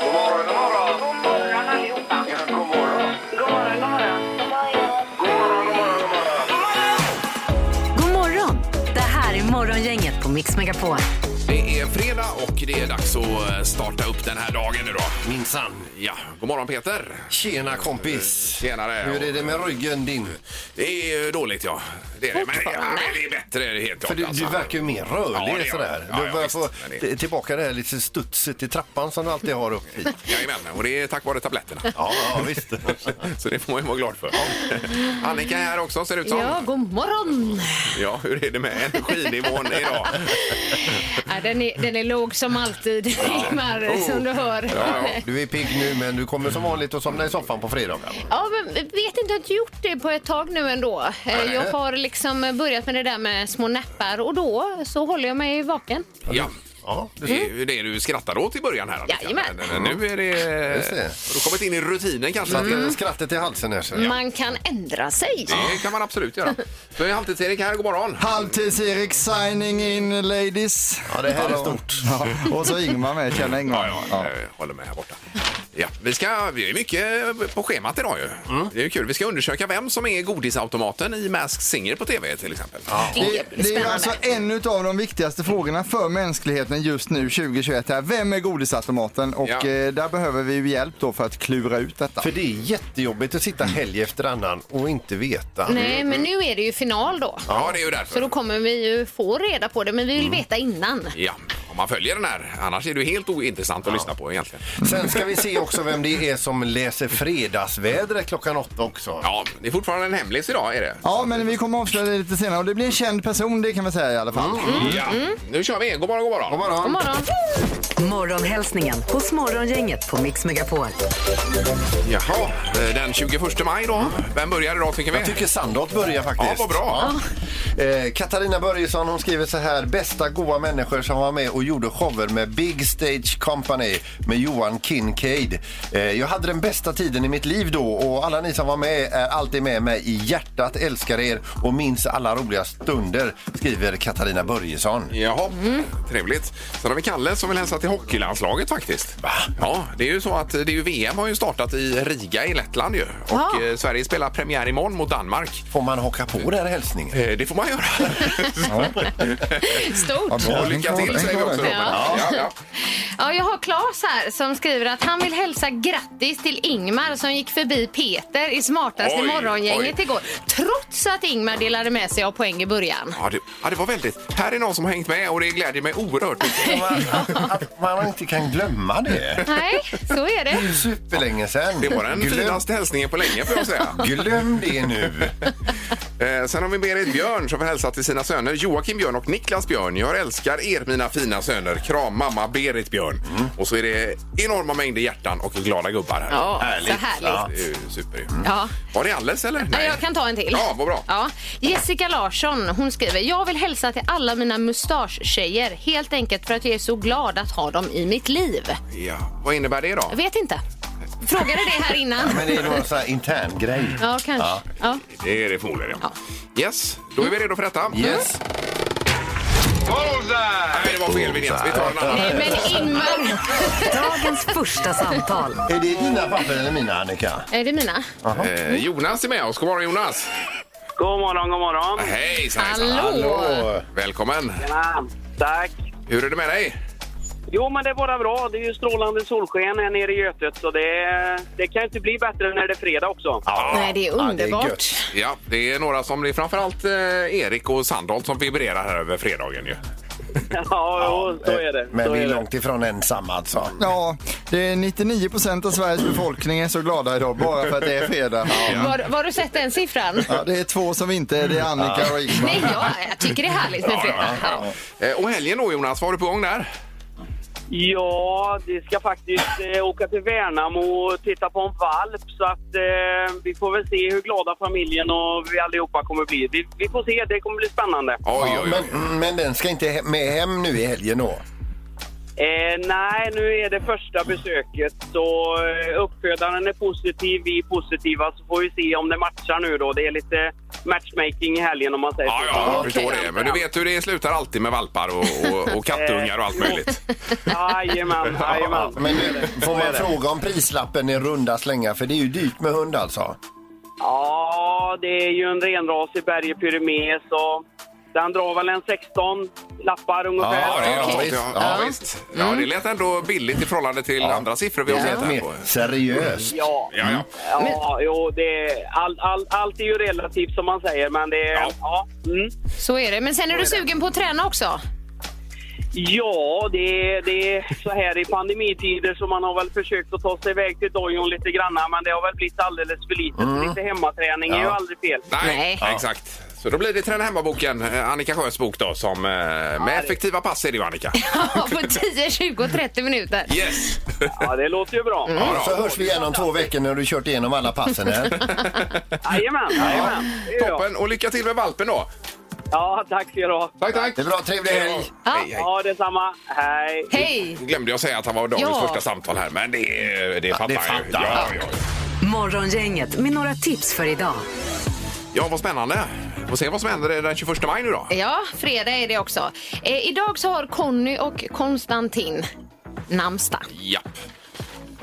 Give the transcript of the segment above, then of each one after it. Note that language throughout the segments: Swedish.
God morgon, god morgon. God morgon allihopa. Ja, god morgon. God morgon, god morgon. God morgon, god morgon, god morgon. God morgon! Det här är Morgongänget på Mix Megapol. Det är fredag och det är dags att eh, starta upp den här dagen nu då. Minsann. Ja, god morgon Peter! Tjena kompis. Tjenare! Hur är det med ryggen din? Det är ju dåligt ja. Det är det. Men, ja, men det är bättre helt klart. För du, du alltså. verkar ju mer Ja, rörlig det gör sådär. jag. Ja, Du ja, börjar visst. få Men det- t- tillbaka det här lite studset i trappan som du alltid har upp i. Jajamän, och det är tack vare tabletterna. Ja, ja visst. Så det får man ju vara glad för. Annika är här också ser det ut som. Ja, god morgon! Ja, hur är det med energinivån idag? Ja, den, är, den är låg som alltid, Ingmar, som du hör. Ja, ja. Du är pigg nu men du kommer som vanligt att somna i soffan på fredagar. Ja, men vet inte, jag har inte gjort det på ett tag nu ändå. Eh, Jag har liksom börjat med det där med små nappar och då så håller jag mig vaken. Ja. Ja, du Det är ju det du skrattade åt i början här Annika. Jajamän. Men Nu är det... Just det. Har du kommit in i rutinen kanske? Mm. satte skrattet i halsen här. så. Man kan ändra sig. Det kan man absolut göra. Så är Halvtids-Erik här, god morgon. Halvtids-Erik signing in ladies. Ja, det här är stort. Ja, och så Ingmar med, känner Ingmar. Ja, ja, jag håller med här borta. Ja, vi, ska, vi är mycket på schemat idag ju. Mm. Det är ju kul. Vi ska undersöka vem som är godisautomaten i Masked Singer på TV till exempel. Det, det är alltså en av de viktigaste frågorna för mänskligheten just nu 2021. Här. Vem är godisautomaten? Och Ja. eh, där behöver vi ju hjälp då för att klura ut detta. För det är jättejobbigt att sitta Mm. helg efter annan och inte veta. Nej, men nu är det ju final då. Ja, det är ju Så då därför. kommer vi ju få reda på det, men vi vill veta innan. Ja, om man följer den här. Annars är det ju helt ointressant att lyssna på egentligen. Sen ska vi se också vem det är som läser fredagsvädret klockan åtta också. Ja, det är fortfarande en hemlis idag är det. Ja, men vi kommer avslöja det lite senare och det blir en känd person, det kan vi säga i alla fall. Mm. Ja. Mm. Nu kör vi. God morgon, god morgon. God morgon. God morgon! Morgonhälsningen hos Morgongänget på Mix Megapol. Jaha, eh, den 21 maj då. Vem börjar idag tycker vi? Jag tycker Sandholt börjar faktiskt. Ja, vad bra. Ja. Eh, Katarina Börjesson hon skriver så här. Bästa goa människor som var med och gjorde shower med Big Stage Company med Johan Kincaid. Eh, jag hade den bästa tiden i mitt liv då och alla ni som var med är alltid med mig i hjärtat. Älskar er och minns alla roliga stunder, skriver Katarina Börjesson. Jaha, Mm. trevligt. Sen har vi Kalle som vill hälsa till hockeylandslaget faktiskt. Ja, det är ju så att det är ju VM har ju startat i Riga i Lettland ju. Och Ja. eh, Sverige spelar premiär imorgon mot Danmark. Får man haka på den här hälsningen? Eh, Det får man göra. Stort! Och lycka till säger vi också då. Men, Ja. ja, ja. Ja, jag har Claes här som skriver att han vill hälsa grattis till Ingmar som gick förbi Peter i smartaste Oj, morgongänget oj. igår. Trots att Ingmar delade med sig av poäng i början. Ja, det, ja, det var väldigt. Här är någon som har hängt med och det glädjer mig oerhört mycket. Man, att man inte kan glömma det. Nej, så är det. Superlänge sen. Det var den finaste hälsningen på länge får jag säga. glöm det nu. Eh, sen har vi Berit Björn som vill hälsa till sina söner Joakim Björn och Niklas Björn. Jag älskar er mina fina söner. Kram mamma Berit Björn. Och så är det enorma mängder hjärtan och glada gubbar här. Ja, Härligt. så härligt. Ja, det är ju super. ju. Ja. Var det alles eller? Nej, jag kan ta en till. Ja, vad bra. Ja. Jessica Larsson hon skriver Jag vill hälsa till alla mina mustaschtjejer helt enkelt för att jag är så glad att ha dem i mitt liv. Ja. Vad innebär det då? Jag vet inte. Frågade det här innan. Men det är någon sån här intern grej. Ja, kanske. Ja. Det är det förmodligen. Ja. Yes, då är vi redo för detta. Mm. Yes. Nej, det var fel vignett. Vi tar en annan. Nej, men Ingmar. Dagens första samtal. Är det dina papper eller mina Annika? Är det mina? Eh, Jonas är med oss. God morgon Jonas. God morgon, god morgon. Hej, Hallå! Välkommen. Tjena. Tack. Hur är det med dig? Jo, men det är bara bra. Det är ju strålande solsken här nere i Götet, så det, det kan ju inte bli bättre när det är fredag också. Nej, det är Ja, underbart. gött. Ja, det är några som, det är framförallt eh, Erik och Sandholt som vibrerar här över fredagen ju. Ja, jo, så är det. Men så vi är är det. långt ifrån ensamma alltså. Ja, det är 99 av Sveriges befolkning är så glada idag bara för att det är fredag. Var, var har du sett den siffran? Ja, det är två som inte är det, är Annika och Ingmar. Nej, jag, jag tycker det är härligt med fredag. Ja, Eh, och helgen då Jonas, vad har du på gång där? Ja, vi ska faktiskt eh, åka till Värnamo och titta på en valp. Så att eh, vi får väl se hur glada familjen och vi allihopa kommer bli. Vi, vi får se, det kommer bli spännande. Oj, oj, oj. Men, mm, men den ska inte he- med hem nu i helgen då? Eh, nej, nu är det första besöket så eh, uppfödaren är positiv, vi är positiva så får vi se om det matchar nu då. Det är lite matchmaking i helgen om man säger Ja, så. ja, jag förstår det. Men du vet hur det slutar alltid med valpar och, och, och kattungar och allt möjligt. Jajamän, jajamän. Men nu får man fråga om prislappen i runda slängar för det är ju dyrt med hund alltså. Ja, det är ju en renrasig berge pyramé så den drar väl en 16 lappar ungefär. Ja, det, är Ja, något sånt, visst. ja, ja, visst. ja, det lät ändå billigt i förhållande till andra siffror vi har sett här Mer på. seriöst. Ja, Ja, ja. ja jo, det, är- all, all, allt är ju relativt som man säger, men det... Ja. Ja. Ja, mm. Så är det. Men sen är du sugen på att träna också. ja det, det är så här i pandemitider så man har väl försökt att ta sig iväg till dojon lite granna, men det har väl blivit alldeles för lite. Mm. Så Lite hemmaträning är ju aldrig fel. Nej, Nej. ja. exakt. Så då blir det Träna hemma-boken, eh, Annika Sjös bok då, som eh, med effektiva pass är det ju Annika. Ja, på 10, 20, 30 minuter. Yes! Ja, det låter ju bra. Ja, Så då. hörs vi igen om två veckor när du kört igenom alla passen eh? här. Jajamän, jajamän. Det gör jag. Toppen, och lycka till med valpen då! Ja, tack ska du ha. Tack, tack! Det är bra, trevlig helg. Hej, hej. Ja, detsamma. Hej. Hej! glömde jag säga att han var dagens Ja. första samtal här, men det, är- det fattar det han ju. fattar Ja, han. ja. Morgongänget med några tips för idag. ja, vad spännande. Vi får se vad som händer den 21 maj nu då. Ja, fredag är det också. Eh, idag så har Conny och Konstantin namnsdag. Japp.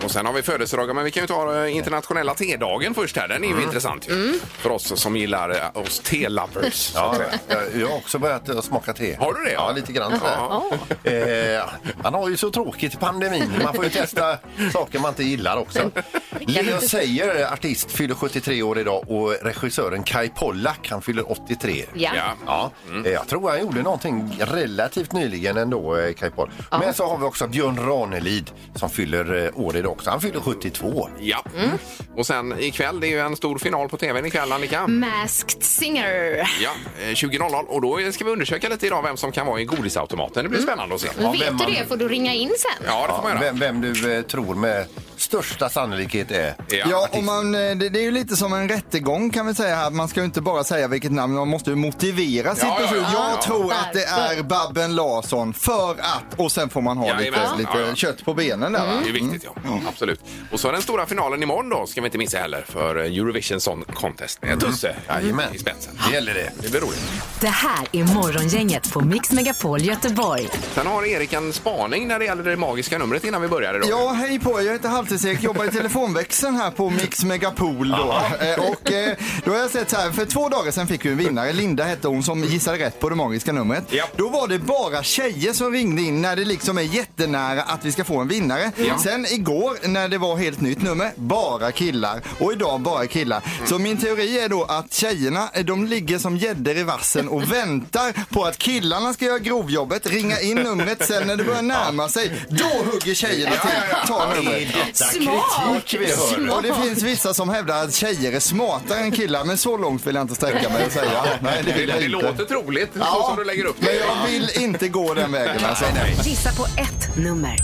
Och sen har vi födelsedagar, men vi kan ju ta eh, internationella tedagen först här. Den är ju Mm. intressant ju. För oss som gillar eh, oss te-lovers. Ja, jag- jag har också börjat eh, smaka te. Har du det? Ja, lite grann. sådär. Eh, man har ju så tråkigt i pandemin. Man får ju testa saker man inte gillar också. Leo Sayer, artist, fyller 73 år idag och regissören Kai Pollak, han fyller 83. Ja. Ja. Ja, eh, jag tror han gjorde någonting relativt nyligen ändå, eh, Kai Pollak. Men så har vi också Björn Ranelid som fyller eh, år idag också. Han fyller 72. Ja. Mm. Och sen ikväll, det är ju en stor final på tvn ikväll Annika. Mm. Masked Singer. Ja, eh, 20.00 och då ska vi undersöka lite idag vem som kan vara i godisautomaten. Det blir spännande att se. Ja, Vet vem du man- det får du ringa in sen. det får Ja, man göra. Mm. vem, vem du eh, tror med största sannolikhet är Ja. Ja, artist. och man, eh, det, det är ju lite som en rättegång kan vi säga här. Man ska ju inte bara säga vilket namn, man måste ju motivera sitt ja, ja. beslut. Jag Ja. tror att det är Babben Larsson för att, och sen får man ha lite, Jajamän. lite Ja, ja. kött på benen där. va? Det är viktigt, ja. Mm. Absolut. Och så är den stora finalen imorgon då, ska vi inte missa heller, för eh, Eurovision Song Contest med Tusse Mm. Jajamän. i spetsen. Det gäller det. Det blir roligt. Det här är Morgongänget på Mix Megapol Göteborg. Sen har Erik en spaning när det gäller det magiska numret innan vi börjar idag. Mm. Ja, hej på er. Jag heter Halvtids-Erik, jobbar i telefonväxeln här på Mix Megapol. Då. Eh, Och eh, då har jag sett så här, för två dagar sedan fick vi en vinnare, Linda hette hon, som gissade rätt på det magiska numret. Ja. Då var det bara tjejer som ringde in när det liksom är jättenära att vi ska få en vinnare. Sen igår när det var helt nytt nummer, bara killar. Och idag bara killar. Så min teori är då att tjejerna, eh, de ligger som gäddor i vassen och väntar på att killarna ska göra grovjobbet, ringa in numret. Sen när det börjar närma sig, då hugger tjejerna till. Ta numret. Smart! Och det finns vissa som hävdar att tjejer är smartare än killar, men så långt vill jag inte sträcka mig och säga. Nej, det Det, vill jag det inte. låter troligt, så Ja, som du lägger upp Men det. jag vill inte gå den vägen alltså. Gissa på ett nummer.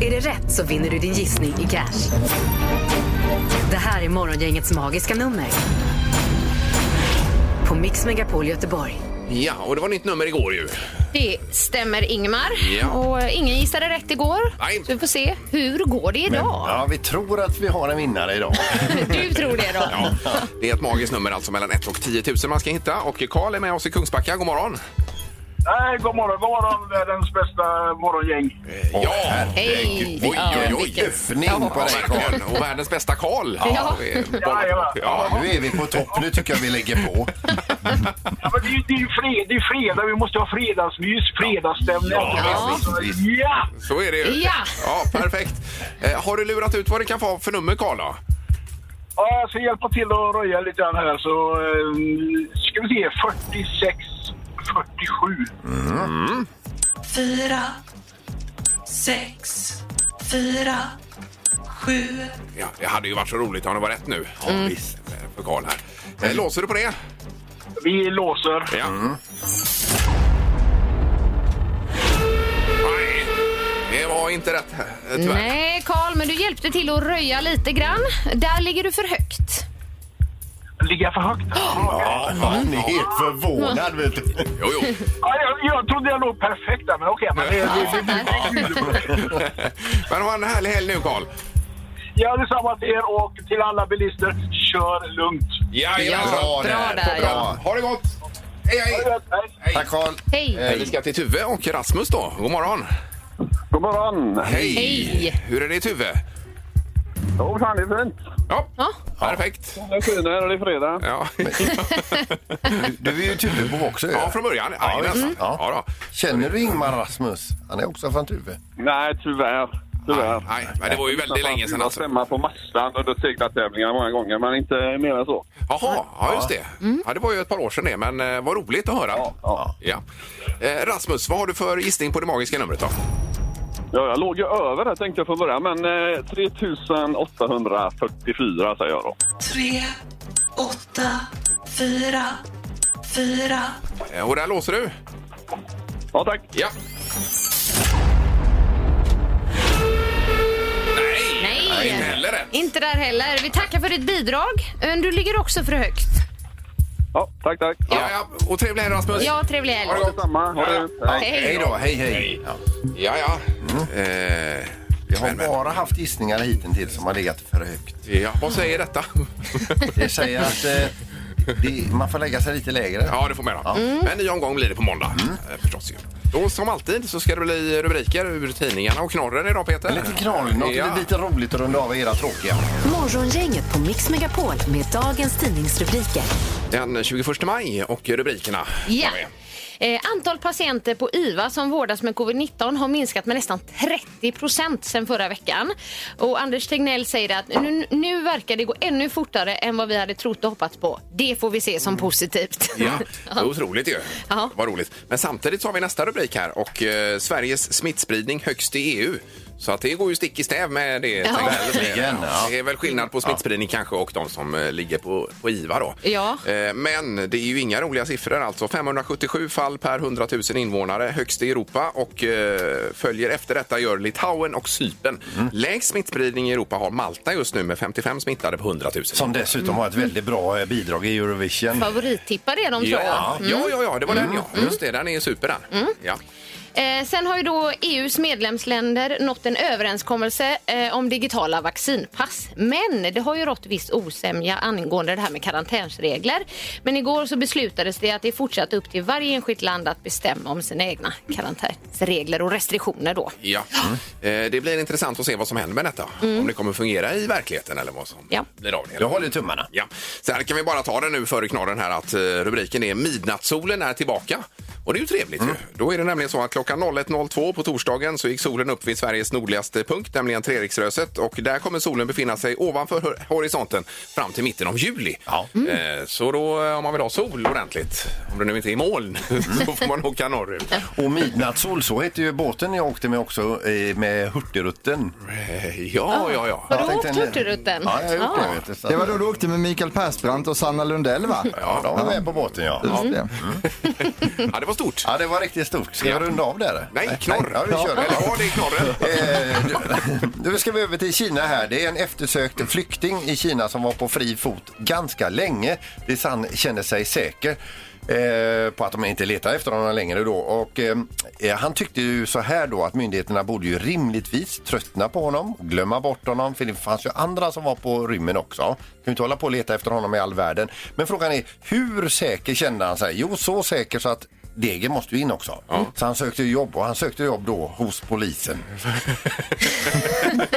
Är det rätt så vinner du din gissning i cash. Det här är Morgongängets magiska nummer. På Mix Megapol Göteborg. Ja, och det var nytt nummer igår ju. Det stämmer Ingmar. Ja. Och eh, ingen gissade rätt igår. Nej. Så vi får se hur går det Men, idag. ja, vi tror att vi har en vinnare idag. Du tror det då? Ja, det är ett magiskt nummer alltså mellan 1 och 10 000 man ska hitta. Och Karl är med oss i Kungsbacka. God morgon! Nej, god morgon, god morgon världens bästa morgongäng. ja! Hej! Oj, oj, oj! vilken- Öffning på Ja, dig Carl. verkligen. Och världens bästa Karl! Ja. det är- Jajamän. ja. Nu är vi på topp, nu tycker jag vi lägger på. Ja, men det är ju det är ju fred, det är fredag, vi måste ha fredagsmys, fredagsstämning. Ja, Så, visst, ja. Så är det ju. Ja. ja perfekt. Eh, har du lurat ut vad det kan vara för nummer, Karl? då? ja, jag ska hjälpa till att röja lite grann här så eh, ska vi se, 46, 47. Fyra, sex, fyra, sju. Ja, det hade ju varit så roligt om det var rätt nu. Ja, visst. Eh, För Karl här. Eh, låser du på det? Vi låser. Ja. var inte rätt här, eh, tyvärr. Nej, Karl, men du hjälpte till att röja lite grann. Där ligger du för högt. Ligga för högt? Ja, han är helt förvånad. Vet du. Jo, jo. Ja, jag, jag trodde jag låg perfekt där, men okej. Men det, det, det, Men ha en härlig helg nu, Karl. jag är samma till er och till alla bilister. Kör lugnt. Ja, Ja, bra där, ja. Ha det gott! Hej, hej! Hej. Tack Carl. Hej. Eh, Vi ska till Tuve och Rasmus då. God morgon! God morgon. Hej! Hej. Hur är det i Tuve? Jo, fan, det är fint. Ja, Ja. perfekt. Det skiner och det är fredag. Ja. Du är ju Tuvebo också. ju. ja, från början. Ja, mm. ja, då. Känner du Ingmar Rasmus? Han är också från Tuve. Nej, tyvärr. Tyvärr. Nej, men det var ju väldigt länge sedan Jag har alltså. stämma på massan under seglartävlingar många gånger, men inte mer än så. Jaha, ja, just det. Ja, det var ju ett par år sedan det, men eh, vad roligt att höra. Ja. Ja. Eh, Rasmus, vad har du för gissning på det magiska numret då? Ja, jag låg ju över där tänkte jag från början, men eh, 3844 säger jag då. Tre, åtta, fyra, fyra. Eh, Och där låser du? Ja, tack. Ja. Nej, Nej. Nej, inte heller rätt. Inte där heller. Vi tackar för ditt bidrag. Men du ligger också för högt. Ja, tack, tack. Ja, ja. Och trevlig helg Rasmus. Ja, trevlig helg. Ha det gott. Detsamma. Ha det. Ja. Hej. Hej då, hej hej. Ja. Ja, ja. Eh, Jag har men, men. bara haft gissningar hittills som har legat för högt. Ja, vad säger detta? Det säger att eh, det, man får lägga sig lite lägre. Ja, det får man göra. Mm. En ny omgång blir det på måndag. Eh, förstås ju. Då som alltid så ska det bli rubriker ur tidningarna och knorren idag Peter. Lite knorr, något ja. lite roligt att runda av era tråkiga. Morgongänget på Mix Megapol med dagens tidningsrubriker. Den 21 maj och rubrikerna. Ja. Vad är? Eh, antal patienter på IVA som vårdas med covid-19 har minskat med nästan 30 procent sedan förra veckan. Och Anders Tegnell säger att nu, nu verkar det gå ännu fortare än vad vi hade trott och hoppats på. Det får vi se som positivt. Ja, det är otroligt ju. Ja. Vad roligt. Men samtidigt så har vi nästa rubrik här och eh, Sveriges smittspridning högst i EU. Så att det går ju stick i stäv med det. Ja. Tegnell säger. Verkligen, ja. Det är väl skillnad på smittspridning kanske och de som eh, ligger på, på IVA då. Ja. Eh, men det är ju inga roliga siffror alltså. 577 fall per 100 000 invånare, högst i Europa och eh, följer efter detta gör Litauen och Cypern. Mm. Lägst smittspridning i Europa har Malta just nu med 55 smittade på 100 000. Som dessutom har ett väldigt bra eh, bidrag i Eurovision. Favorittippar är de tror jag. Ja, ja, ja, ja, det var den ja. Just det, den är super den. Ja. Eh, sen har ju då EUs medlemsländer nått en överenskommelse eh, om digitala vaccinpass. Men det har ju rått viss osämja angående det här med karantänsregler. Men igår så beslutades det att det är fortsatt upp till varje enskilt land att bestämma om sina egna karantänsregler och restriktioner då. Ja. Mm. Eh, Det blir intressant att se vad som händer med detta. Om det kommer fungera i verkligheten eller vad som Ja. blir av det. Jag hela. håller tummarna. Ja. Sen kan vi bara ta den nu före knorren här att eh, rubriken är Midnattssolen är tillbaka. Och det är ju trevligt Mm. ju. Då är det nämligen så att klockan 01.02 på torsdagen så gick solen upp vid Sveriges nordligaste punkt, nämligen Treriksröset. Och där kommer solen befinna sig ovanför hor- horisonten fram till mitten av juli. Ja. Eh, Så då eh, om man vill ha sol ordentligt, om det nu inte är moln, så får man åka norrut. Och midnattssol, så hette ju båten jag åkte med också, eh, med Hurtigruten. Eh, Ja, ja, ja. Har du Jag tänkte åkt en- Hurtigruten? Ja, jag har gjort Ja. Ah. det. Vet du, så att- Det var då du åkte med Mikael Persbrandt och Sanna Lundell va? Ja, de var med på båten ja. Mm. Just det. Ja, det var stort. Ja, det var riktigt stort. Ska jag runda av där? Nej, knorr. Ja, vi kör. Eller ja, det är knorren. Eh, nu- Nu ska vi över till Kina här. Det är en eftersökt flykting i Kina som var på fri fot ganska länge tills han kände sig säker eh, på att de inte letar efter honom längre då. Och, eh, han tyckte ju så här då att myndigheterna borde ju rimligtvis tröttna på honom, glömma bort honom, för det fanns ju andra som var på rymmen också. Kan ju inte hålla på och leta efter honom i all världen. Men frågan är, hur säker kände han sig? Jo, så säker så att Degen måste ju in också. Så han sökte jobb och han sökte jobb då hos polisen.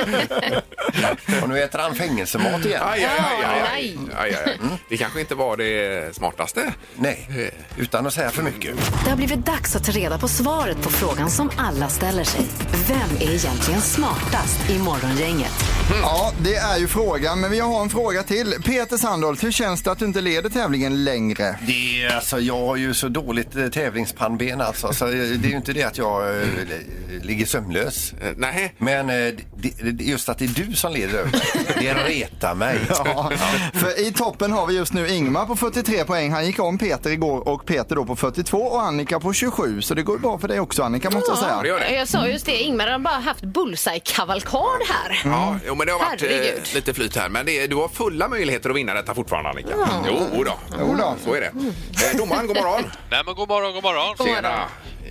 och nu äter han fängelsemat igen. Aj, aj, aj, aj, aj. aj, Ja, aj. Det kanske inte var det smartaste. Nej, utan att säga för mycket. Det har blivit dags att ta reda på svaret på frågan som alla ställer sig. Vem är egentligen smartast i Morgongänget? Ja, det är ju frågan, men vi har en fråga till. Peter Sandholt, hur känns det att du inte leder tävlingen längre? Det är, alltså, jag har ju så dåligt eh, bäverspannben alltså. Så eh, det är ju inte det att jag eh, ligger sömnlös. Eh, Nej. Men eh, det, det- just att det är du som leder över mig, det retar mig. Ja, för i toppen har vi just nu Ingmar på 43 poäng. Han gick om Peter igår och Peter då på 42 och Annika på 27. Så det går ju bra för dig också Annika måste jag det säga. gör det. Jag sa just det, Ingmar har bara haft bullseye-kavalkad här. Ja, jo, men det har varit eh, Herregud. lite flyt här. Men det, du har fulla möjligheter att vinna detta fortfarande, Annika. Jo, då. Jo då. Så är det. Eh, domaren, god morgon. Nej men god morgon, god morgon. Tjena.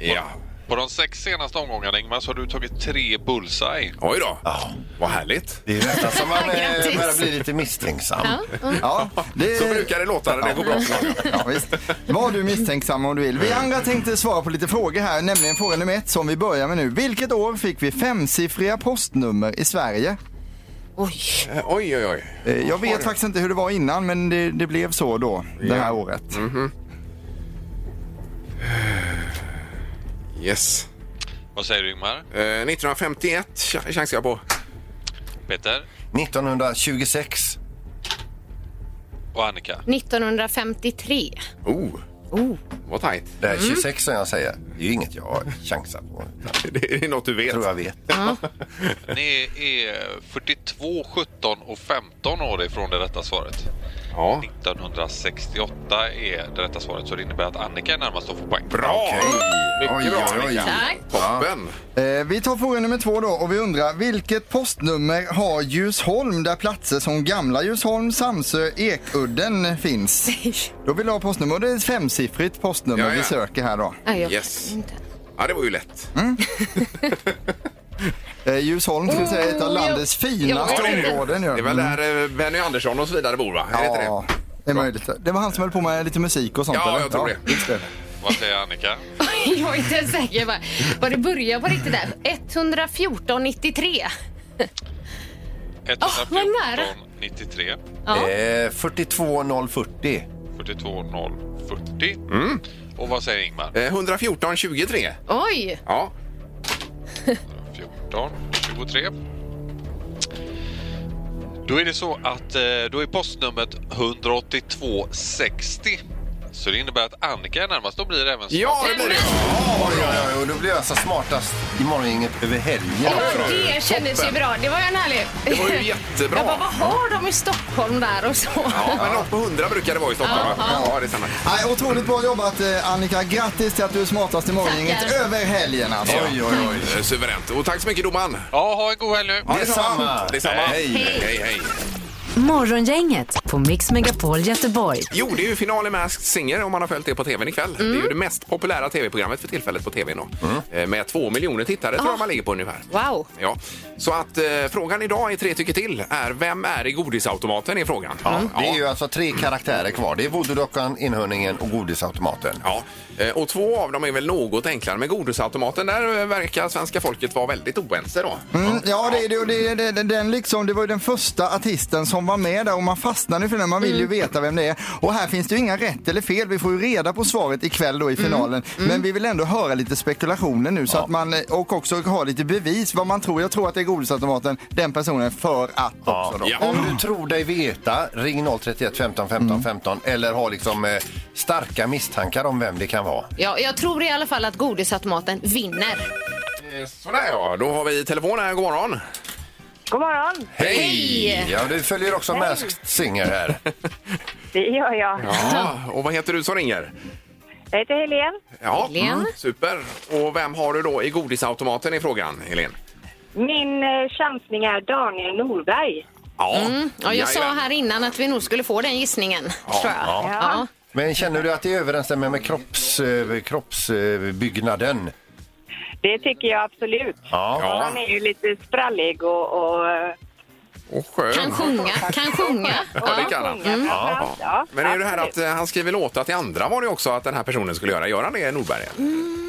Ja. På de sex senaste omgångarna Ingmar så har du tagit tre bullseye. Oj då. Vad härligt. Det är ju nästan som man eh, Grattis. börjar bli lite misstänksam. Ja, det, Så brukar det låta när det går bra för någon. Ja, visst. Var du misstänksam om du vill. Vi andra tänkte svara på lite frågor här, nämligen fråga nummer ett som vi börjar med nu. Vilket år fick vi femsiffriga postnummer i Sverige? Oj. Eh, Oj, oj, oj. Eh, Jag vet faktiskt inte hur det var innan, men det, det blev så då, det här året. Yes. Vad säger du Ingmar? Eh, 1951 ch- chansar jag på. Peter 1926. och Annika? 1953. Oh. Vad tajt. Det Mm. här 26 som jag säger, det är ju inget jag chansar på. utan Det är något du Jag vet. tror jag vet. Ni är 42, 17 och 15 år ifrån det rätta svaret. Ja. 1968 är det rätta svaret så det innebär att Annika är närmast att få poäng. Bra! Okej. Oj, Mycket bra, oj, oj. Annika. Tack. Toppen. Eh, Vi tar fråga nummer två då och vi undrar vilket postnummer har Ljusholm där platser som Gamla Ljusholm, Samsö, Ekudden finns? Då vill jag ha postnummer och det är ett femsiffrigt postnummer Ja, ja. vi söker här då. Nej, jag Yes. vet inte. Ja, det var ju lätt. Mm. Eh, Ljusholm skulle säga är ett av Oh, landets jag- finaste jag vet inte. områden. ju. Det är väl där eh, Benny Andersson och så vidare bor, va? Är det inte Ja, det? det är möjligt. Det var han som höll på med lite musik och sånt Ja, eller? jag tror det. just Vad säger Annika? Jag är inte ens säker var, var det börjar på riktigt där. 114,93. 114, vad nära. 93, Ja. Eh, 42040. 42, 0, 40. Och vad säger Ingmar? Eh, 114 23. Oj! Ja. 14, 23. Då är det så att eh, då är postnumret 18260. Så det innebär att Annika är närmast. Då blir det även Ja, det blir det. Oj, oj, oj, och då blir jag så smartast i morgongänget över helgen. Ja, det kändes ju bra. Det var ju en härlig... Det var ju jättebra. Jag bara, vad har de i Stockholm där och så? Ja, men något på 100 brukar det vara i Stockholm. va? Ja, det stämmer. Nej, otroligt bra jobbat eh, Annika. Grattis till att du är smartast i morgongänget Tackar. över helgen alltså. Oj, oj, oj. Eh, Suveränt. Och tack så mycket domaren. Ja, ha en god helg nu. Detsamma. Detsamma. Hej. hej, hej. Morgongänget på Mix Megapol Göteborg. Jo, det är ju final i Masked Singer om man har följt det på tvn ikväll. Det är Mm. ju det mest populära tv-programmet för tillfället på tvn. Då. Eh, Med två miljoner tittare Ah. tror jag man ligger på ungefär. Wow. Ja. Så att eh, frågan idag i Tre tycker till är vem är i godisautomaten är frågan. Ja. Det är ju alltså tre karaktärer kvar. Det är voodoo-dockan, enhörningen och godisautomaten. Ja, eh, och två av dem är väl något enklare. Men godisautomaten, där eh, verkar svenska folket vara väldigt oense då. Mm, ja, det, det, det, det, det, den liksom, det var ju den första artisten som var med där och man fastnar nu för den. Man vill ju veta vem det är. Och här finns det ju inga rätt eller fel. Vi får ju reda på svaret ikväll då i finalen. Men vi vill ändå höra lite spekulationer nu så att man, eh, och också ha lite bevis vad man tror. Jag tror att det är godisautomaten, den personen, för att också då. Ja. Om du tror dig veta, ring 031 15 15 15 Mm. eller har liksom eh, starka misstankar om vem det kan vara. Ja, jag tror i alla fall att godisautomaten vinner. Eh, Sådär ja, då har vi telefon här. God morgon. God morgon! Hej! Ja, du följer också Masked Singer här. Det gör jag. Ja, och vad heter du som ringer? Jag heter Helene. Ja, Helene. mm, super. Och vem har du då i godisautomaten är frågan, Helene? Min eh, chansning är Daniel Norberg. Ja, Mm, Ja, jag sa jajamän. här innan att vi nog skulle få den gissningen, tror jag. Ja. Men känner du att det överensstämmer med kroppsbyggnaden? Eh, kropps, eh, byggnaden? Det tycker jag absolut. Ja. Han är ju lite sprallig och, och eh, Och skön. Kan sjunga, kan sjunga. Ja, det kan han. Mm. sjunger framförallt. Ja, Men är det här att absolut. eh, han skriver låtar till andra var det också att den här personen skulle göra. Gör han det, Norberg? Mm.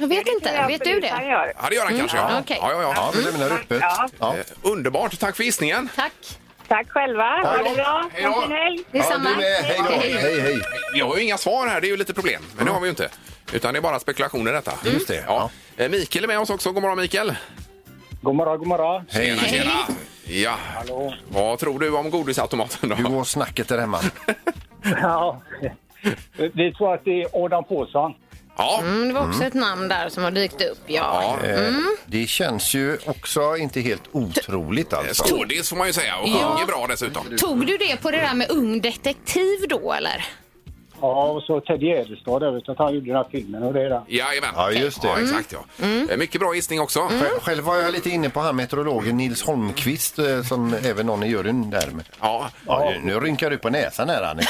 Jag vet Det inte, tror jag vet du absolut eh, han det? gör. Ja, det gör han kanske. Ja. Ja, Mm, okej. Ja, ja, ja. Ja, vi lämnar öppet. Ja. Ja. Eh, Underbart. Tack för gissningen. Tack. Tack själva. Ha det bra. Hej då. Ha en fin helg. Ja, Detsamma. du med. Hej då. Hej, hej. Vi har ju inga svar här, det är ju lite problem. Men det har vi ju inte. Utan det är bara spekulationer detta. Just Mm. det, Ja. Eh, Mikael är med oss också. God morgon Mikael. God morgon, god morgon. Hej. Tjena. Ja. Vad tror du om godisautomaten då? Hur går snacket där hemma? Ja. Vi tror att det är Adam Påsson. Ja. Mm, det var också ett namn där som har dykt upp. Ja. Eh, Mm. Det känns ju också inte helt otroligt alltså. eh, Skådis får man ju säga och Ja. sjunger bra dessutom. Tog du det på det där med ung detektiv då eller? Ja, och så Ted Gärdestad där, vet du, att han gjorde den här filmen och det där. Jajamän. Ja, just det. Mm. Ja, exakt, ja. Eh, Mycket bra gissning också. Själv- Själv var jag lite inne på han meteorologen Nils Holmqvist eh, som även någon i juryn där med. Ja. nu- Nu rynkar du på näsan här Annika.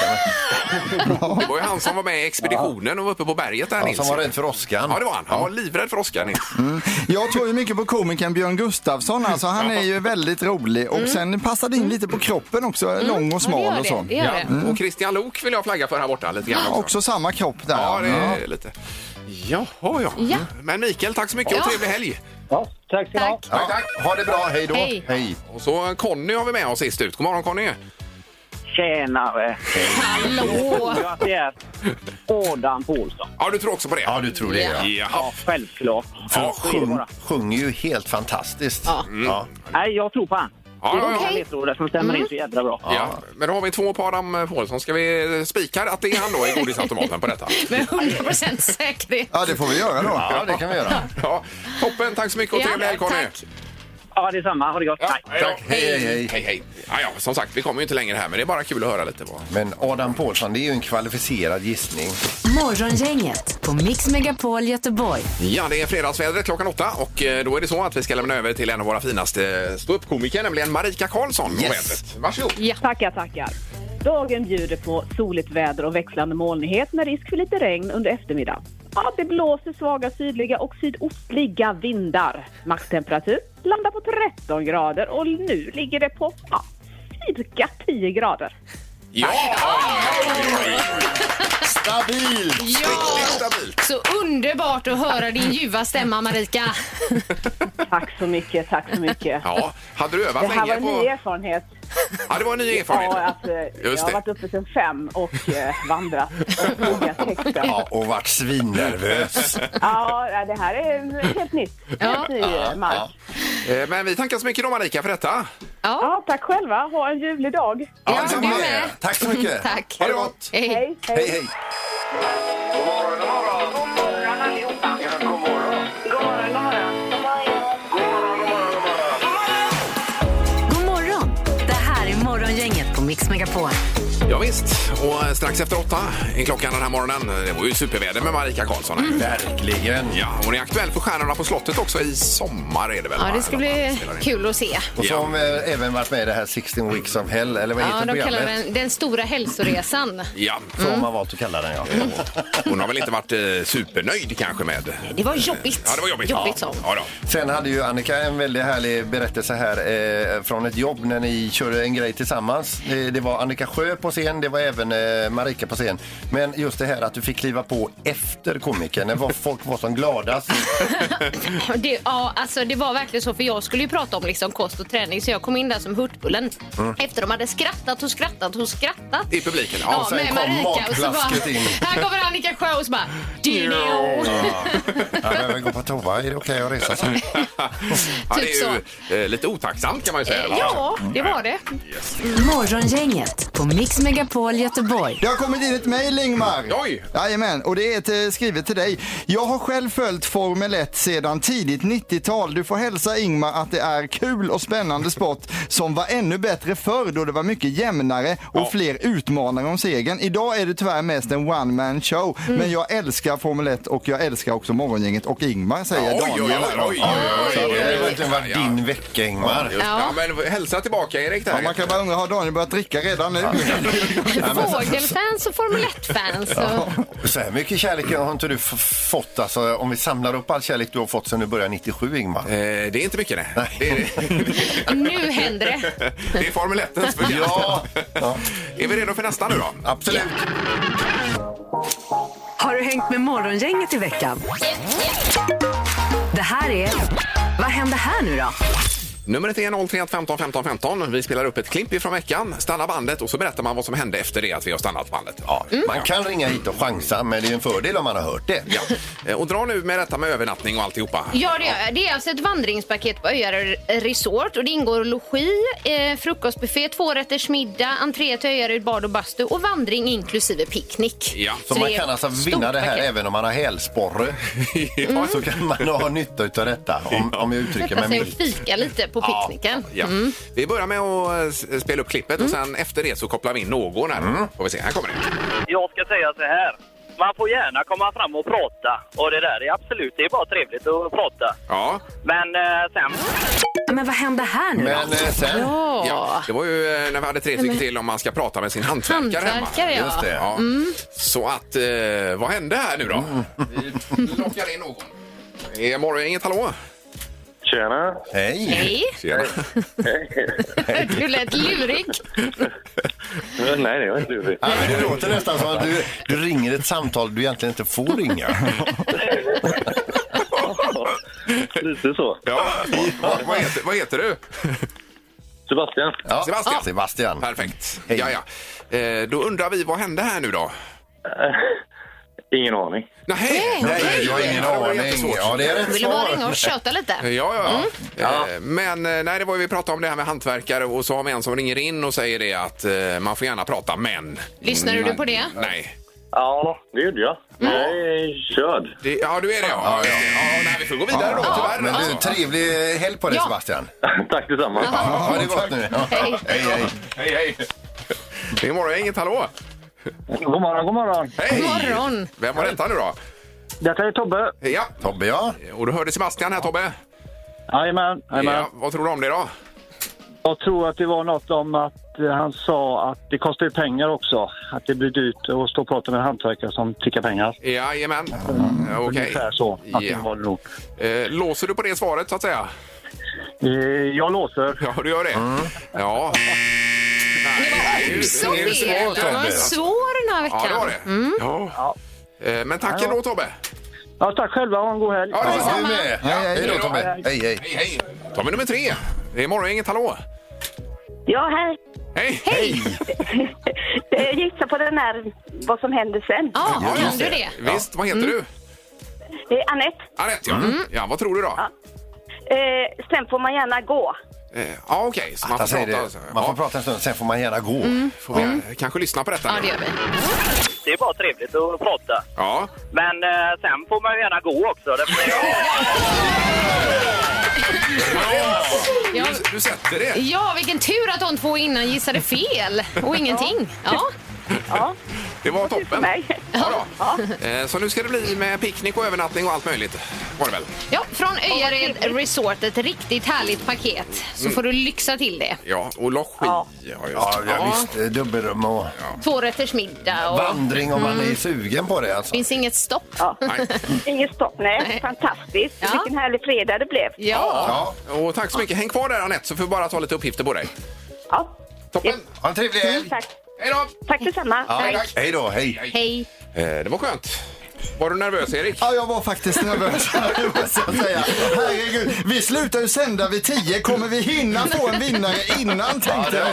Det var ju han som var med i expeditionen och var uppe på berget där Ja, Nils. som var rädd för åskan. Ja, det var han. Han var livrädd för åskan Nils. Jag tror ju mycket på komikern Björn Gustafsson. Alltså, han är ju väldigt rolig och sen passar det in lite på kroppen också. Lång och Ja, smal det och gör så. det, det gör det. Mm. Och Christian Lok vill jag flagga för här borta lite grann också. Också samma kropp där. Ja, det Ja. är lite. Jaha, ja. Ja. Men Mikael, tack så mycket och Ja. trevlig helg. Ja, tack ska ni ha. Tack. Ja, tack. Ha det bra, hej då. Hej. hej. Och så eh, Conny har vi med oss sist ut. God morgon Conny. Tjenare! Hallå! Ja, det är Adam Paulsson. Ja, du tror också på det? Ja, du tror det ja. Jaha. Ja, självklart. Han Så är det sjung, bara. sjunger ju helt fantastiskt. Mm. Ja. Ja. Nej, jag tror på han. Ja, ja, ja. Det är ledtrådar som Mm. stämmer in så jädra bra. Ja, men då har vi två på Adam Paulsson. Ska vi spika att det är han då i godisautomaten på detta? Med 100% säkerhet. ja, det får vi göra då. ja, det kan vi göra. Ja, toppen, tack så mycket och Ja, trevlig helg Conny. tack. Ja, detsamma. Ha det gott. Ja, Hej. då. Tack, hej, hej, hej, hej. Ja, ja, som sagt, vi kommer ju inte längre här men det är bara kul att höra lite. På. Men Adam Pålsson, det är ju en kvalificerad gissning. Morgongänget på Mix Megapol Göteborg. Ja, det är fredagsvädret klockan åtta och eh, då är det så att vi ska lämna över till en av våra finaste ståuppkomiker, nämligen Marika Karlsson. och vädret. Varsågod. Ja. Tackar, tackar. Dagen bjuder på soligt väder och växlande molnighet med risk för lite regn under eftermiddagen. Ja, det blåser svaga sydliga och sydostliga vindar. Maxtemperatur landar på 13 grader och nu ligger det på ja, cirka 10 grader. Ja! Stabilt! Ja, Riktigt stabilt. så underbart att höra din ljuva stämma Marika. Tack så mycket, tack så mycket. Ja, hade du övat Det här var länge en på... ny erfarenhet. Ja, det var en ny Ja, erfarenhet. alltså, jag Just har det. varit uppe sedan fem och eh, vandrat och pluggat texten. Ja, och vart svinnervös. Ja, det här är helt nytt. Ja. Helt ny eh, mark. Eh, Men vi tackar så mycket då Marika för detta. Ja, Ja, tack själva. Ha en ljuvlig dag. ja detsamma. du med. Tack så mycket. Tack. Ha det gott. Hej. Hej. Hej, hej. God morgon, god morgon! God morgon allihopa! Ja, god morgon! God morgon, god morgon! God morgon, god morgon! God morgon, god morgon! God morgon! Det här är Morgongänget på Mix Megapol. Ja, visst. och eh, strax efter åtta är klockan den här morgonen. Det var ju superväder med Marika Karlsson. här. Mm. Verkligen. Ja, hon är aktuell för Stjärnorna på slottet också i sommar är det väl? Ja, va? det ska Eller vad bli spelar in. kul att se. Och så har hon eh, även varit med i det här 16 Weeks of Hell, eller vad heter Ja, de programmet? kallar Mm. den den stora hälsoresan. Ja, Så har man valt att kalla den, ja. hon har väl inte varit eh, supernöjd kanske med... Det var jobbigt. Ja, det var jobbigt. Jobbigt ja. så. Ja, då. Sen hade ju Annika en väldigt härlig berättelse här eh, från ett jobb när ni körde en grej tillsammans. Eh, det var Annika Sjö på scen, det var även eh, Marika på scen. Men just det här att du fick kliva på efter komikern, när var- folk var som gladast. Det, ja, alltså det var verkligen så, för jag skulle ju prata om liksom kost och träning så jag kom in där som Hurtbullen. Mm. Efter de hade skrattat och skrattat och skrattat. I publiken, ja. Ja, sen med kom Marika. Och så matplasket bara, in. här kommer Annika Sjö och så bara... "Dino." Jag behöver gå på toa, är det okej att resa sig? ja det Typ Eh, är ju eh, lite otacksamt kan man ju säga. va? Ja, det var det. Morgongänget på Mix Megapol Göteborg. Det har kommit in ett mejl Ingmar. Oj! Jajamän, och det är ett, eh, skrivet till dig. Jag har själv följt Formel 1 sedan tidigt 90-tal. Du får hälsa Ingmar att det är kul och spännande sport som var ännu bättre förr då det var mycket jämnare och fler utmanare om segern. Idag är det tyvärr mest en one man show. Mm. Men jag älskar Formel 1 och jag älskar också Morgongänget och Ingmar säger Oj, oj, Daniel. oj, oj, oj, oj, Det oj, har ju oj, verkligen varit din vecka, Ingmar. Ja. ja, men hälsa tillbaka Erik Ja, där. man kan bara undra, har Daniel börjat dricka redan nu? Fågelfans och Formel 1-fans. och- Så här mycket kärlek har inte du f- fått, alltså, om vi samlar upp all kärlek du har fått sedan du började 97, Ingmar. Eh, det är inte mycket nej. Nej. Det, är, Nu händer det. det är Formel 1 förtjänst. Ja. Ja. Är vi redo för nästa nu då? Absolut. Har du hängt med Morgongänget i veckan? Det här är... Vad händer här nu då? Numret är 031 15 15 15. Vi spelar upp ett klipp ifrån veckan, stannar bandet och så berättar man vad som hände efter det att vi har stannat bandet. Ja, Man kan ringa hit och chansa, men det är en fördel om man har hört det. Ja. Eh, Och dra nu med detta med övernattning och alltihopa. Ja, det gör jag. Det är alltså ett vandringspaket på Öjarö Resort och det ingår logi, eh, frukostbuffé, tvårättersmiddag, entré till Öjaryd bad och bastu och vandring inklusive picknick. Så det man är kan alltså ett vinna stort det här paket. även om man har hälsporre. Mm. Så kan man ha nytta av detta, om, om jag uttrycker Sätta mig sig och milt. fika lite på Ja, picknicken. Ja. Vi börjar med att eh, s- spela upp klippet och sen efter det så kopplar vi in någon här. Mm. Får vi se. Här kommer det. Jag ska säga så här. Man får gärna komma fram och prata. Och det där är absolut, det är bara trevligt att prata. Ja. Men eh, sen... Men vad hände här nu Men då? eh, sen... Ja, det var ju eh, när vi hade tre stycken till om man ska prata med sin hantverkare Hantverkare, hemma. ja. Just det, ja. Mm. Så att, eh, vad hände här nu då? Vi lockar in någon. Är morgon, inget hallå? Tjena! Hej! Hej. Tjena. Du lät lurig. Nej, det var inte du. Ja, men det låter nästan som att du, du ringer ett samtal du egentligen inte får ringa. Lite så. Ja. Vad, heter, vad heter du? Sebastian. Ja. Sebastian. Sebastian. Perfekt. Ja, ja. Eh, då undrar vi, vad hände här nu då? Ingen aning. Nej, Nej, jag har ingen det var aning. jättesvårt. Ja, det är rätt Vill du bara ringa och svar. köta lite? Ja, ja, ja. Mm. Eh, Men eh, nej, det var ju vi pratade om det här med hantverkare och så har vi en som ringer in och säger det att eh, man får gärna prata, men... Lyssnade du på det? Nej. Ja, det gjorde jag. Jag är körd. ja, du är det ja. ja, nej, vi får gå vidare då tyvärr. Men du, alltså. trevlig helg på dig Ja. Sebastian. Tack detsamma. Ha det gott nu. Ja. Hej. Hej, hej. Hej, hej. Det är morgon, inget hallå. God morgon, god morgon. Hej! Morgon. Vem var detta nu då? Detta är Tobbe. Ja. Tobbe, ja. Och du hörde Sebastian här, Tobbe. Jajamän, jajamän. Ja, vad tror du om det då? Jag tror att det var något om att eh, han sa att det kostar ju pengar också. Att det blir dyrt att stå och prata med en hantverkare som tickar pengar. Jajamän. Mm. Eh, Okej. Ungefär så. Att Ja. det var det nog. Eh, Låser du på det svaret så att säga? Eh, Jag låser. Ja, du gör det? Mm. Ja. Nej, Så det är ju fel. Mm. svårt, Det var Tobbe. svår den här veckan. Ja, det var det. Ja. Eh, Men tack Ja. ändå, Tobbe. Ja, tack själva. Ha en god helg. Ja, detsamma. Du med. Ja, hej då Tobbe. Hej, hej. Hej, hej. Tobbe nummer tre. Det är morgongänget, hallå. Ja, hej. Hej! Hej! Gissa på den här, vad som händer sen. Ja, just Visst, vad Mm. heter du? Det är Anette. Anette, ja. ja. Vad tror du då? Eh, sen får man gärna gå. Eh, Ja, okej. Så Han man får säger prata. det. alltså. Man får prata en stund, sen får man gärna gå. Mm. Får vi eh, kanske lyssna på detta Mm. Ja, nu? det gör vi. Det är bara trevligt att prata. Ja. Men eh, sen får man ju gärna gå också. Därför Ja. Du, du sätter det? Ja, vilken tur att de två innan gissade fel och ingenting. Ja. Det var toppen. Ja, Ja. då. Eh, Så nu ska det bli med picknick och övernattning och allt möjligt. Var det väl? Ja, från Öjared Resort, ett riktigt härligt paket. Så Mm. får du lyxa till det. Ja, och logi. Ja, just. Ja, ja visst. Eh, Dubbelrum och Tvårättersmiddag och... vandring om man Mm. är sugen på det. Alltså. finns inget stopp. Inget stopp, nej. Fantastiskt. Vilken härlig fredag det blev. Ja. Och tack så mycket. Häng kvar där, Anette, så får vi bara ta lite uppgifter på dig. Ja. Mm. Toppen. Ha en trevlig helg. Tack. Hej då! Tack detsamma. Ja, tack. Hej då, hej. Hej. Eh, Det var skönt. Var du nervös, Erik? Ja, jag var faktiskt nervös. det måste jag säga. Herregud, vi slutar ju sända vid 10. Kommer vi hinna få en vinnare innan tänkte jag.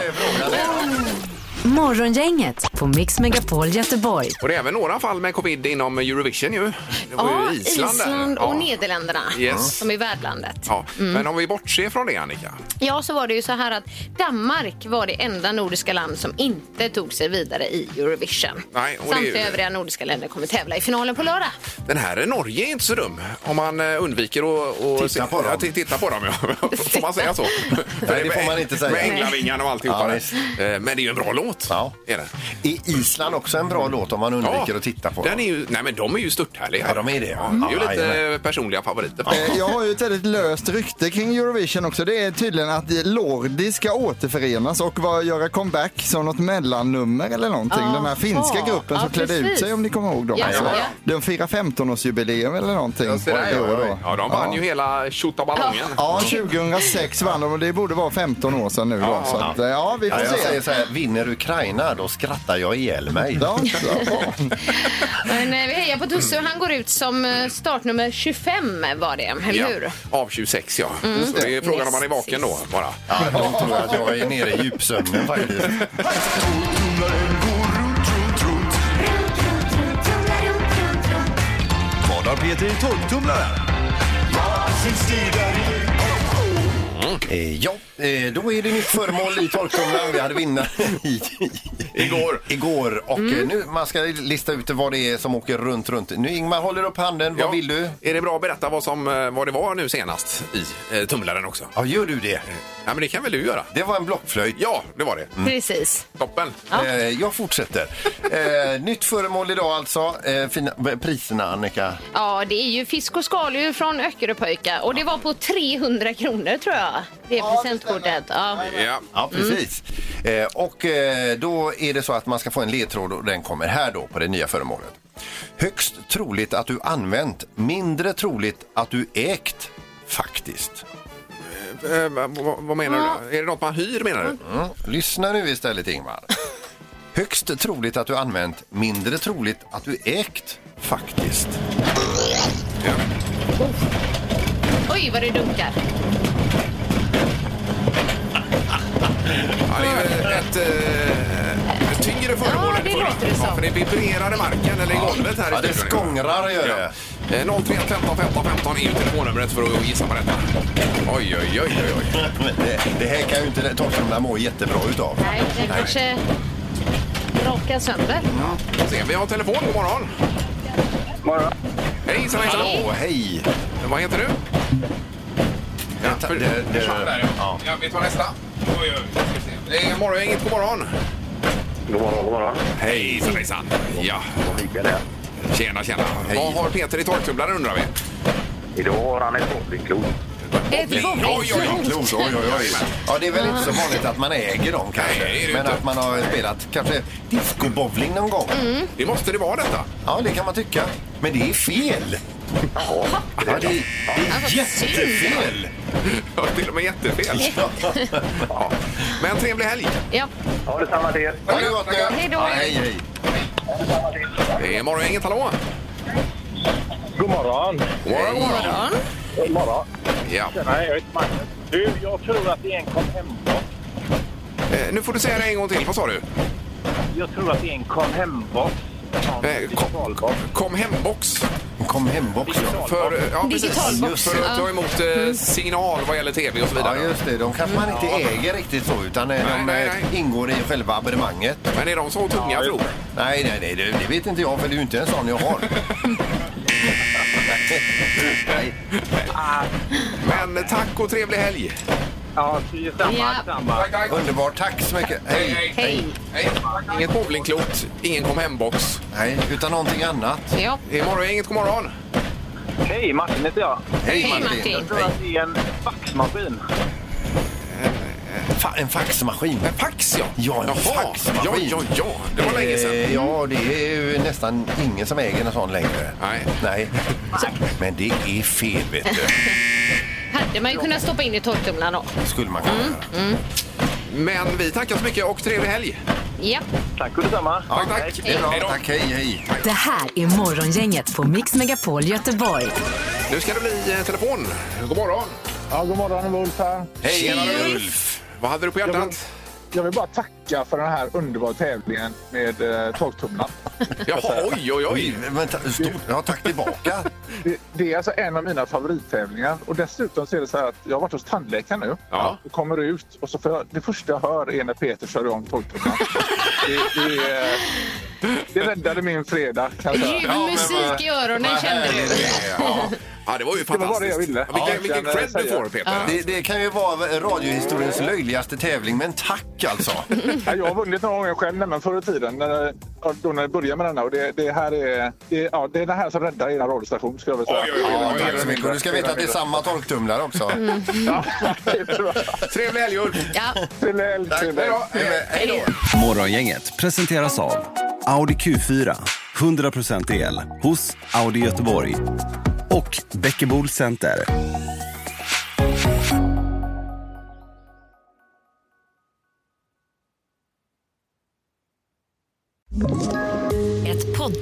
Morgongänget på Mix Megapol Göteborg. Och det är även några fall med covid inom Eurovision ju. Det var Ja, ju Island, där. Island och Mm. Nederländerna Yes. som är värdlandet. Ja. Men om vi bortser från det, Annika. Ja, så var det ju så här att Danmark var det enda nordiska land som inte tog sig vidare i Eurovision. Nej, och det är ju- Samtliga övriga nordiska länder kommer tävla i finalen på lördag. Den här Norge är inte så dum om man eh, undviker att och titta, på ja, t- titta på dem. Ja. Får man säga så? Nej, det får man inte säga. Med änglavingarna och alltihopa. Ja, där. visst. Eh, Men det är ju en bra låt. Ja. Är det. Är Island också en bra låt om man undviker att titta på den är ju, nej men de är ju störthärliga. Ja, de är det, ja. det är ju Ja, lite personliga favoriter. Eh, Jag har ju ett väldigt löst rykte kring Eurovision också. Det är tydligen att Lordi ska återförenas och vara, göra comeback som något mellannummer eller någonting. Ja. Den här finska Ja. gruppen som Ja, klädde ut precis. sig om ni kommer ihåg dem. Ja, Alltså, ja, ja. De firar 15-årsjubileum eller någonting. Ja, se där, i år ja, ja. då. Ja, de vann ju hela tjottaballongen. Ja, 2006 vann de och det borde vara 15 år sedan nu då. Ja. Så att, eh, ja, vi får Ja, jag se. säger så här, vinner du Ukraina, då skrattar jag ihjäl mig. Men eh, vi hejar på Tusse och han går ut som eh, startnummer 25 var det, eller Ja, Mm. hur? Av 26 ja. Mm. Så det är frågan om man är Precis. vaken då bara. Ja, då tror jag att jag är nere i djupsömnen faktiskt. Vad har Peter i torktumlaren? Eh, Ja, eh, då är det nytt föremål i torktumlaren. Vi hade vinnare i, igår. igår. Och eh, nu man ska lista ut vad det är som åker runt, runt. Nu Ingmar håller upp handen. Vad vill du? Är det bra att berätta vad, som, eh, vad det var nu senast i eh, tumlaren också? Ja, gör du det? Ja, men det kan väl du göra? Det var en blockflöjt. Ja, det var det. Precis. Toppen. Eh, Jag fortsätter. Eh, nytt föremål idag alltså. Eh, fina, b- priserna Annika. Ja, det är ju fisk och skaldjur från Öckeröpöjka och det var på 300 kronor tror jag. Det är presentkortet. Ja. Ja, precis. Eh, och eh, då är det så att man ska få en ledtråd och den kommer här då på det nya föremålet. Högst troligt att du använt, mindre troligt att du ägt faktiskt. Eh, vad- vad, vad menar du? då? Är det något man hyr menar du? Mm. Lyssna nu istället Ingmar. Högst troligt att du använt, mindre troligt att du ägt faktiskt. Oj, vad det dunkar. Ja, det är ju ett eh, ett tyngre föremål. Ja, det låter det ja, för det vibrerar i marken eller i golvet här Ja, det i studion. skångrar gör det. Ja. Eh, 031 15 15 15 är ju telefonnumret för att gissa på detta. Oj, oj, oj, oj, oj. Men det, det här kan ju inte torktumlaren må jättebra utav. Nej, den kanske rakar sönder. Får se, Vi har telefon. God morgon. morgon. Hejsan, hejsan. Hallå, hej. Vad heter du? Ja, för, det, det- försvann där, ja. ja. Vi tar nästa. Oj, oj, oj. Ska vi se. Det är morgon, inget god morgon. God morgon, god morgon. Hejsan, hejsan. Ja. Tjena, tjena. Vad har Peter i torktumlaren undrar vi? Idag har han ett bowlingklot. Ett Oj, oj, oj, klot, oj, oj, oj. Ja, det är väl inte så vanligt att man äger dem kanske. Nej, det är det Men inte. att man har spelat kanske discobowling någon gång. Mm. Det måste det vara detta. Ja, det kan man tycka. Men det är fel. Ja, det är, det Alltså, är jättefel. Ja, till och med jättefel. Ja. Men trevlig helg. Ja. Ja, detsamma till er. Ha det gott nu. Hej då. Ja, hej, hej. Det är morgongänget, hallå. God morgon. God morgon, god morgon. God morgon. Ja. Tjena, jag heter Magnus. Du, jag tror att det är en kom hem Eh, nu får du säga det en gång till. Vad sa du? Jag tror att det är en kom hem-box. Eh, kom, kom hembox. Kom hembox, ja. För, eh, ja, precis. Digitalbox. Just för att ta emot eh, signal vad gäller tv och så Ja, vidare. just det. De kanske man inte äger riktigt så, utan eh, de Nej, nej, eh, ingår i själva abonnemanget. Men är de så tunga, ja, tror Nej, nej, nej, det, det vet inte jag, för det är ju inte en sån jag har. nej. Men tack och trevlig helg. Ja, det är samma. Ja. samma. Underbart. Tack så mycket. Hej. Hej. Hej. Inget bowlingklot, ingen kom hembox. Nej, utan någonting annat. Ja. Det är morgongänget, god morgon. Hej, Martin heter jag. Hej, Hej, Martin. Martin. Jag tror att det är en faxmaskin. Fa- en faxmaskin. En fax, Eh, ja. Ja, en Jaha. Ja, faxmaskin. ja, ja. Det var länge sedan. Eh, ja, det är ju nästan ingen som äger en sån längre. Nej. Nej. Men det är fel, vet du. Hade man ju kunnat stoppa in i torktumlaren då. Skulle man kunna göra. Men vi tackar så mycket och trevlig helg. Ja. Tack och detsamma. Ja, tack. Det är bra. Tack, hej, hej. Det här är Morgongänget på Mix Megapol Göteborg. Nu ska det bli eh, telefon. God morgon. Ja, god morgon, Wolf här. Hej, Tjena, Ulf. Vad hade du på hjärtat? Jag vill bara tacka för den här underbara tävlingen med eh, torktumlaren. Jaha, oj, oj, oj. Vänta, stort. Ja, tack tillbaka. Det, det är alltså en av mina favorittävlingar. Och dessutom så är det så här att jag har varit hos tandläkaren nu Ja. och kommer ut och så får jag, det första jag hör är när Peter kör igång torktumlaren. det, det, är- det räddade min fredag kan jag säga. Ljuv musik i öronen vad kände du. Ja. ja, det var ju fantastiskt. Det var bara det jag ville. Ja, Vilken, Ja, vilken jag cred kan eh, du säga. får, Peter. Det, det kan ju vara radiohistoriens löjligaste tävling, men tack alltså. Ja, jag har vunnit några gånger själv nämligen förr i tiden när, ja, då när jag började med denna. Och det, det, här är, det, ja, det är det här som räddar er radiostation skulle jag vilja säga. Oj, oj, oj, Ja, oj, tack så mycket. Och du ska veta att det är samma torktumlare också. Trevlig helg, Ulf. Ja. Trevlig helg. Hej då. Hej då. Morgongänget presenteras av Audi Q4. 100% el hos Audi Göteborg. Och Bäckebol Center.